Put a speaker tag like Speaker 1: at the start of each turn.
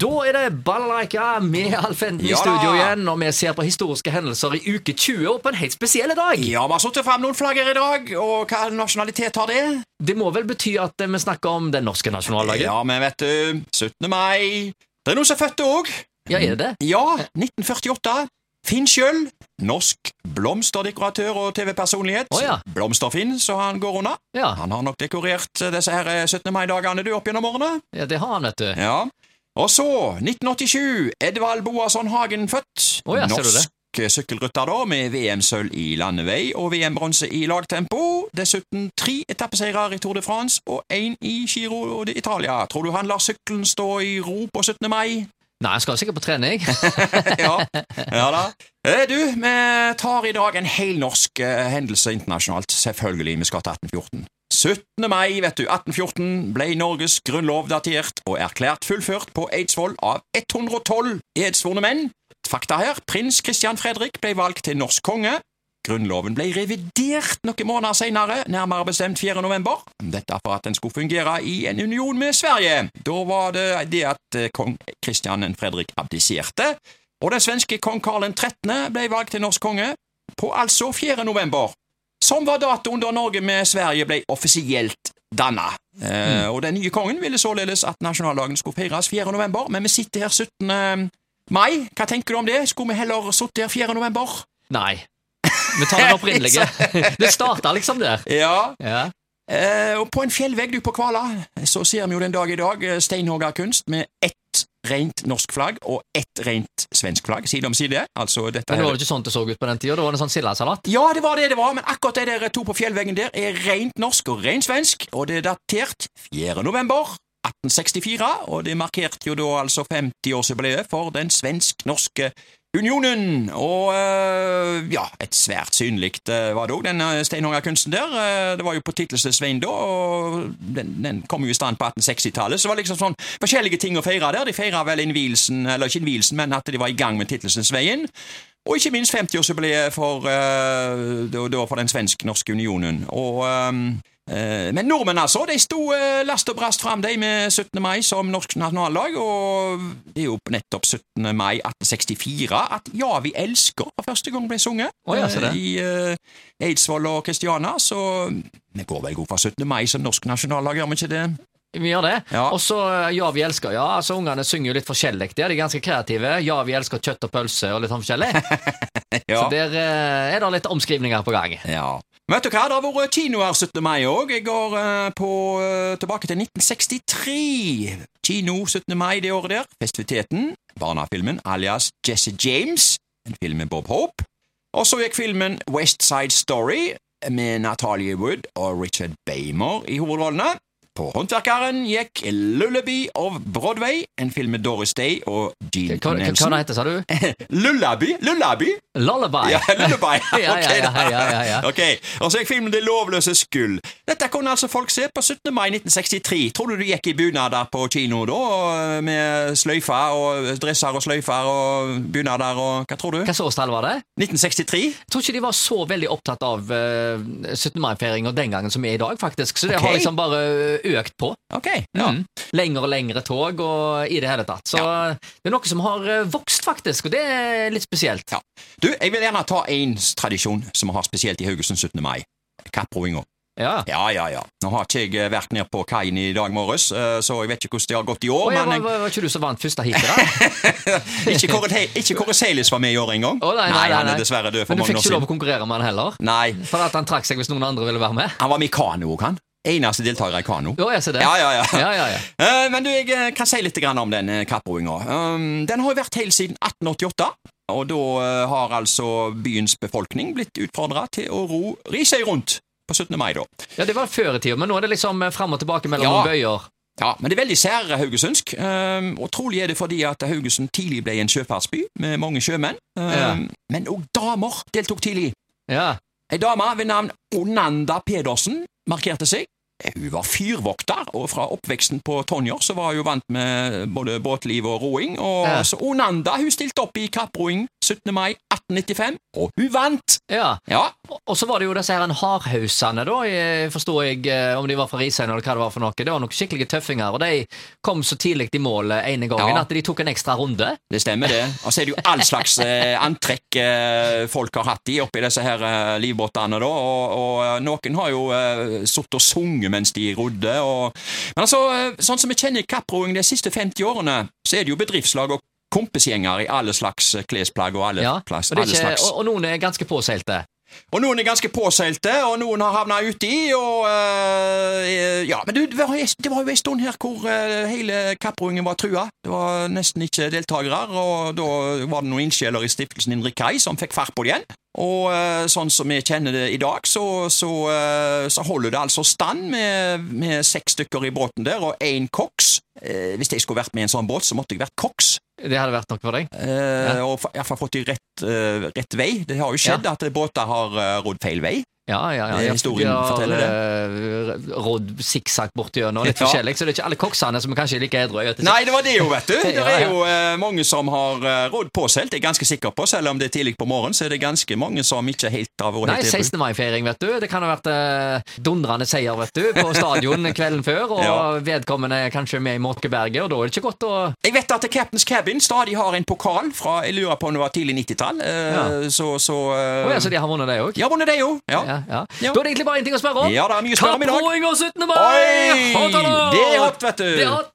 Speaker 1: Da er det Balalaika med Alfenden i
Speaker 2: Ja da.
Speaker 1: studio igjen, og vi ser på historiske hendelser i uke 20 og på en helt spesiell dag.
Speaker 2: Ja, vi har satt frem noen flagg her i dag, og hva nasjonalitet har det?
Speaker 1: Det må vel bety at eh, vi snakker om den norske nasjonaldagen?
Speaker 2: Ja, men vet du, 17. mai. Det er noen som er født òg.
Speaker 1: Ja, er det det?
Speaker 2: Ja, 1948. Finn Schjøll. Norsk blomsterdekoratør og TV-personlighet.
Speaker 1: Å ja.
Speaker 2: Blomster-Finn, så han går unna.
Speaker 1: Ja,
Speaker 2: Han har nok dekorert eh, disse her eh, 17. mai-dagene du opp gjennom årene.
Speaker 1: ja det har han, vet du.
Speaker 2: Ja. Og så, 1987, Edvald Boasson Hagen født.
Speaker 1: Å ja, ser du det.
Speaker 2: Norsk eh, sykkelrytter da, med VM-sølv i landevei og VM-bronse i lagtempo. Dessuten tre etappeseirer i Tour de France og én i Giro d'Italia. Tror du han lar sykkelen stå i ro på 17. mai?
Speaker 1: Nei, han skal sikkert på trening.
Speaker 2: ja. ja da. Eh, Du, vi tar i dag en hel norsk eh, hendelse internasjonalt. Selvfølgelig, vi skal til 1814. 17. mai vet du, 1814 ble Norges grunnlov datert og erklært fullført på Eidsvoll av 112 edsvorne menn. Fakta her, prins Christian Fredrik ble valgt til norsk konge. Grunnloven ble revidert noen måneder senere, nærmere bestemt 4. november. Dette for at den skulle fungere i en union med Sverige. Da var det det at eh, kong Christian Fredrik abdiserte, og den svenske kong Karl 13. ble valgt til norsk konge på altså 4. november, som var datoen da Norge med Sverige ble offisielt danna. Eh, og den nye kongen ville således at nasjonaldagen skulle feires 4. november, men vi sitter her 17. mai. Hva tenker du om det? Skulle vi heller sittet her 4. november?
Speaker 1: Nei. Vi tar den opprinnelige. Det starta liksom der.
Speaker 2: Ja,
Speaker 1: Ja.
Speaker 2: Eh, og på en fjellvegg du på Kvala, så ser vi jo den dag i dag eh, steinhoggerkunst med ett rent norsk flagg og ett rent svensk flagg, side om side. Altså dette
Speaker 1: Men det
Speaker 2: her-
Speaker 1: var jo ikke sånn det så ut på den tida. Det var en sånn sildesalat.
Speaker 2: Ja, det var det det var, men akkurat de der to på fjellveggen der er rent norsk og rent svensk, og det er datert 4. november 1864, og det markerte jo da altså 50-årsjubileet for den svensk-norske unionen, og eh, ja, et svært synlig eh, var det òg, den eh, steinhoggerkunsten der. Eh, det var jo på titleste Svein da, og den, den kom jo i stand på 1860-tallet, så det var liksom sånn forskjellige ting å feire der. De feira vel innvielsen, eller ikke innvielsen, men at de var i gang med titleste Svein. Og ikke minst 50-årsjubileet for, eh, da- da for den svensk-norske unionen. Og, ehm, eh, men nordmenn, altså. De sto eh, last og brast fram de med 17. mai som norsk nasjonaldag. Og det er jo på nettopp 17. mai 1864 at 'Ja, vi elsker' for første gang ble sunget.
Speaker 1: Å ja, se det.
Speaker 2: eh, I eh, Eidsvoll og Kristiana. Så vi går vel god for 17. mai som norsk nasjonaldag, gjør vi ikke det?
Speaker 1: Vi gjør det.
Speaker 2: Ja.
Speaker 1: Og så eh, Ja, vi elsker. Ja, altså Ungene synger jo litt forskjellig. der. De er ganske kreative. Ja, vi elsker kjøtt og pølse og litt sånn forskjellig. Så
Speaker 2: Ja.
Speaker 1: der eh, er det litt omskrivninger på gang.
Speaker 2: Ja. Vet du hva, det har vært kinoer 17. mai òg. Jeg går eh, på, eh, tilbake til 1963. Kino 17. mai det året der. Festiviteten. Barnafilmen alias Jesse James. En film med Bob Hope. Og så gikk filmen West Side Story med Natalie Wood og Richard Bamer i hovedrollene. På Håndverkeren gikk Lullaby of Broadway, en film med Doris Day og Gene
Speaker 1: Hva, hva, hva
Speaker 2: Nelson.
Speaker 1: det heter sa du?
Speaker 2: Lullaby? Lullaby?
Speaker 1: Eh, Lullaby.
Speaker 2: Ja, Lullaby.
Speaker 1: Ja, ja,
Speaker 2: Ok,
Speaker 1: ja,
Speaker 2: da.
Speaker 1: ja, ja, ja.
Speaker 2: Ok, Og så gikk filmen Det lovløses gull. Dette kunne altså folk se på 17. mai 1963. Tror du du gikk i bunader på kino da, og med sløyfer og dresser og sløyfer og bunader og Hva tror du?
Speaker 1: Hva slags årstall var det?
Speaker 2: 1963?
Speaker 1: Jeg tror ikke de var så veldig opptatt av eh, 17. mai-feiringa den gangen som er i dag, faktisk. Så det har
Speaker 2: Ok.
Speaker 1: liksom bare økt på.
Speaker 2: Ok. Ja.
Speaker 1: Mm. Lengre og lengre tog og i det hele tatt. Så eh, det er noe som har eh, vokst, faktisk, og det er litt spesielt.
Speaker 2: ja. Du, jeg vil gjerne ta én tradisjon som vi har spesielt i Haugesund 17. mai. Kapproinga.
Speaker 1: Ja.
Speaker 2: Ja, ja, ja. Nå har ikke jeg eh, vært nede på kaien i dag morges, eh, så jeg vet ikke hvordan det har gått i år.
Speaker 1: Å, ja,
Speaker 2: men
Speaker 1: var,
Speaker 2: jeg...
Speaker 1: var, var ikke du som vant første heatet, da?
Speaker 2: Ikke Kåre Te- Ikke Kåre Seilis var med i år engang.
Speaker 1: Å, nei, nei, nei,
Speaker 2: han
Speaker 1: nei.
Speaker 2: er dessverre død for
Speaker 1: Men du
Speaker 2: mange
Speaker 1: fikk
Speaker 2: år
Speaker 1: ikke lov
Speaker 2: siden.
Speaker 1: å konkurrere med han heller?
Speaker 2: Nei,
Speaker 1: For at han trakk seg hvis noen andre ville være med?
Speaker 2: han var med i kano òg, han. Eneste deltaker i kano.
Speaker 1: Å, jeg ser det.
Speaker 2: Ja, ja, ja.
Speaker 1: ja, ja, ja.
Speaker 2: Eh, Men du, jeg eh, kan si litt grann om den eh, kapproinga. Um, Den har jo vært helt siden 1888. Og da eh, har altså byens befolkning blitt utfordra til å ro Risøy rundt på 17. mai, da.
Speaker 1: Ja, Det var før i tida, men nå er det liksom eh, fram og tilbake mellom
Speaker 2: Ja.
Speaker 1: noen bøyer.
Speaker 2: Ja, men det er veldig sær haugesundsk, ehm, og trolig er det fordi at Haugesund tidlig ble en sjøfartsby med mange sjømenn. Ehm, Men òg damer deltok tidlig.
Speaker 1: Ja.
Speaker 2: Ei dame ved navn Onanda Pedersen markerte seg. Hun var fyrvokter, og fra oppveksten på Tonjer så var hun vant med både båtliv og roing. Og
Speaker 1: Ja.
Speaker 2: så Onanda hun stilte opp i kapproing 17. mai 1895, og hun vant!
Speaker 1: Ja.
Speaker 2: Ja,
Speaker 1: Og- Og så var det jo disse her en hardhausene, da, eh, forstår jeg, eh, om de var fra Risøyene eller hva det var for noe. Det var noen skikkelige tøffinger, og de kom så tidlig i mål eh, ene gangen
Speaker 2: Ja.
Speaker 1: at de tok en ekstra runde.
Speaker 2: Det stemmer, det. Og så er det jo all slags eh, antrekk eh, folk har hatt i oppi disse her eh, livbåtene, da. Og, og eh, noen har jo eh, sittet og sunget mens de rodde. Og... Men altså, eh, sånn som vi kjenner kapproing de siste 50 årene, så er det jo bedriftslag og kompisgjenger i alle slags eh, klesplagg og alle,
Speaker 1: Ja,
Speaker 2: plass,
Speaker 1: Og, det er
Speaker 2: alle
Speaker 1: ikke,
Speaker 2: slags
Speaker 1: og, og noen er ganske påseilte.
Speaker 2: og noen er ganske påseilte, og noen har havna uti, og eh, Ja, men du, det var det var jo ei stund her hvor eh, hele kapproingen var trua. Det var nesten ikke deltakere, og da var det noen ildsjeler i stiftelsen Indre Kai som fikk fart på det igjen. Og eh, sånn som vi kjenner det i dag, så, så, eh, så holder det altså stand med, med seks stykker i båten der, og én koks. Eh, hvis jeg skulle vært med i en sånn båt, så måtte jeg vært koks.
Speaker 1: Det hadde vært noe for deg.
Speaker 2: Eh, Og fa- i hvert fall fått de rett, eh, rett vei. Det har jo skjedd at båter har eh, rodd feil vei.
Speaker 1: Ja, ja, ja.
Speaker 2: Det er
Speaker 1: ja,
Speaker 2: historien
Speaker 1: de har,
Speaker 2: forteller
Speaker 1: eh, Rodd sikksakk bort gjennom, litt
Speaker 2: Ja.
Speaker 1: forskjellig, så det er ikke alle koksene som er kanskje like edru. jeg vet ikke.
Speaker 2: Nei, det var det jo, vet du. Det
Speaker 1: Ja, ja.
Speaker 2: er jo eh, mange som har eh, rådd påseilt, det er jeg ganske sikker på. Selv om det er tidlig på morgenen, så er det ganske mange som ikke helt har vært
Speaker 1: Nei,
Speaker 2: helt edru.
Speaker 1: 16. mai-feiring, vet du. Det kan ha vært eh, dundrende seier, vet du, på stadion kvelden før, og
Speaker 2: Ja.
Speaker 1: vedkommende er kanskje med i Måkeberget, og da er det ikke godt å
Speaker 2: Jeg vet at Captain's Cabin stadig har en pokal fra Jeg lurer på om det var tidlig 90-tall. eh, Så, så eh,
Speaker 1: Å ja, så de har vunnet det òg?
Speaker 2: De har vunnet det, jo. Ja.
Speaker 1: Ja, ja.
Speaker 2: Ja.
Speaker 1: Da er det egentlig bare én ting å spørre om.
Speaker 2: Ja, det er mye å spørre om i dag.
Speaker 1: Kapproing og 17. mai!
Speaker 2: Oi!
Speaker 1: Hot eller?
Speaker 2: Det er hot, vet du.
Speaker 1: Det er hot.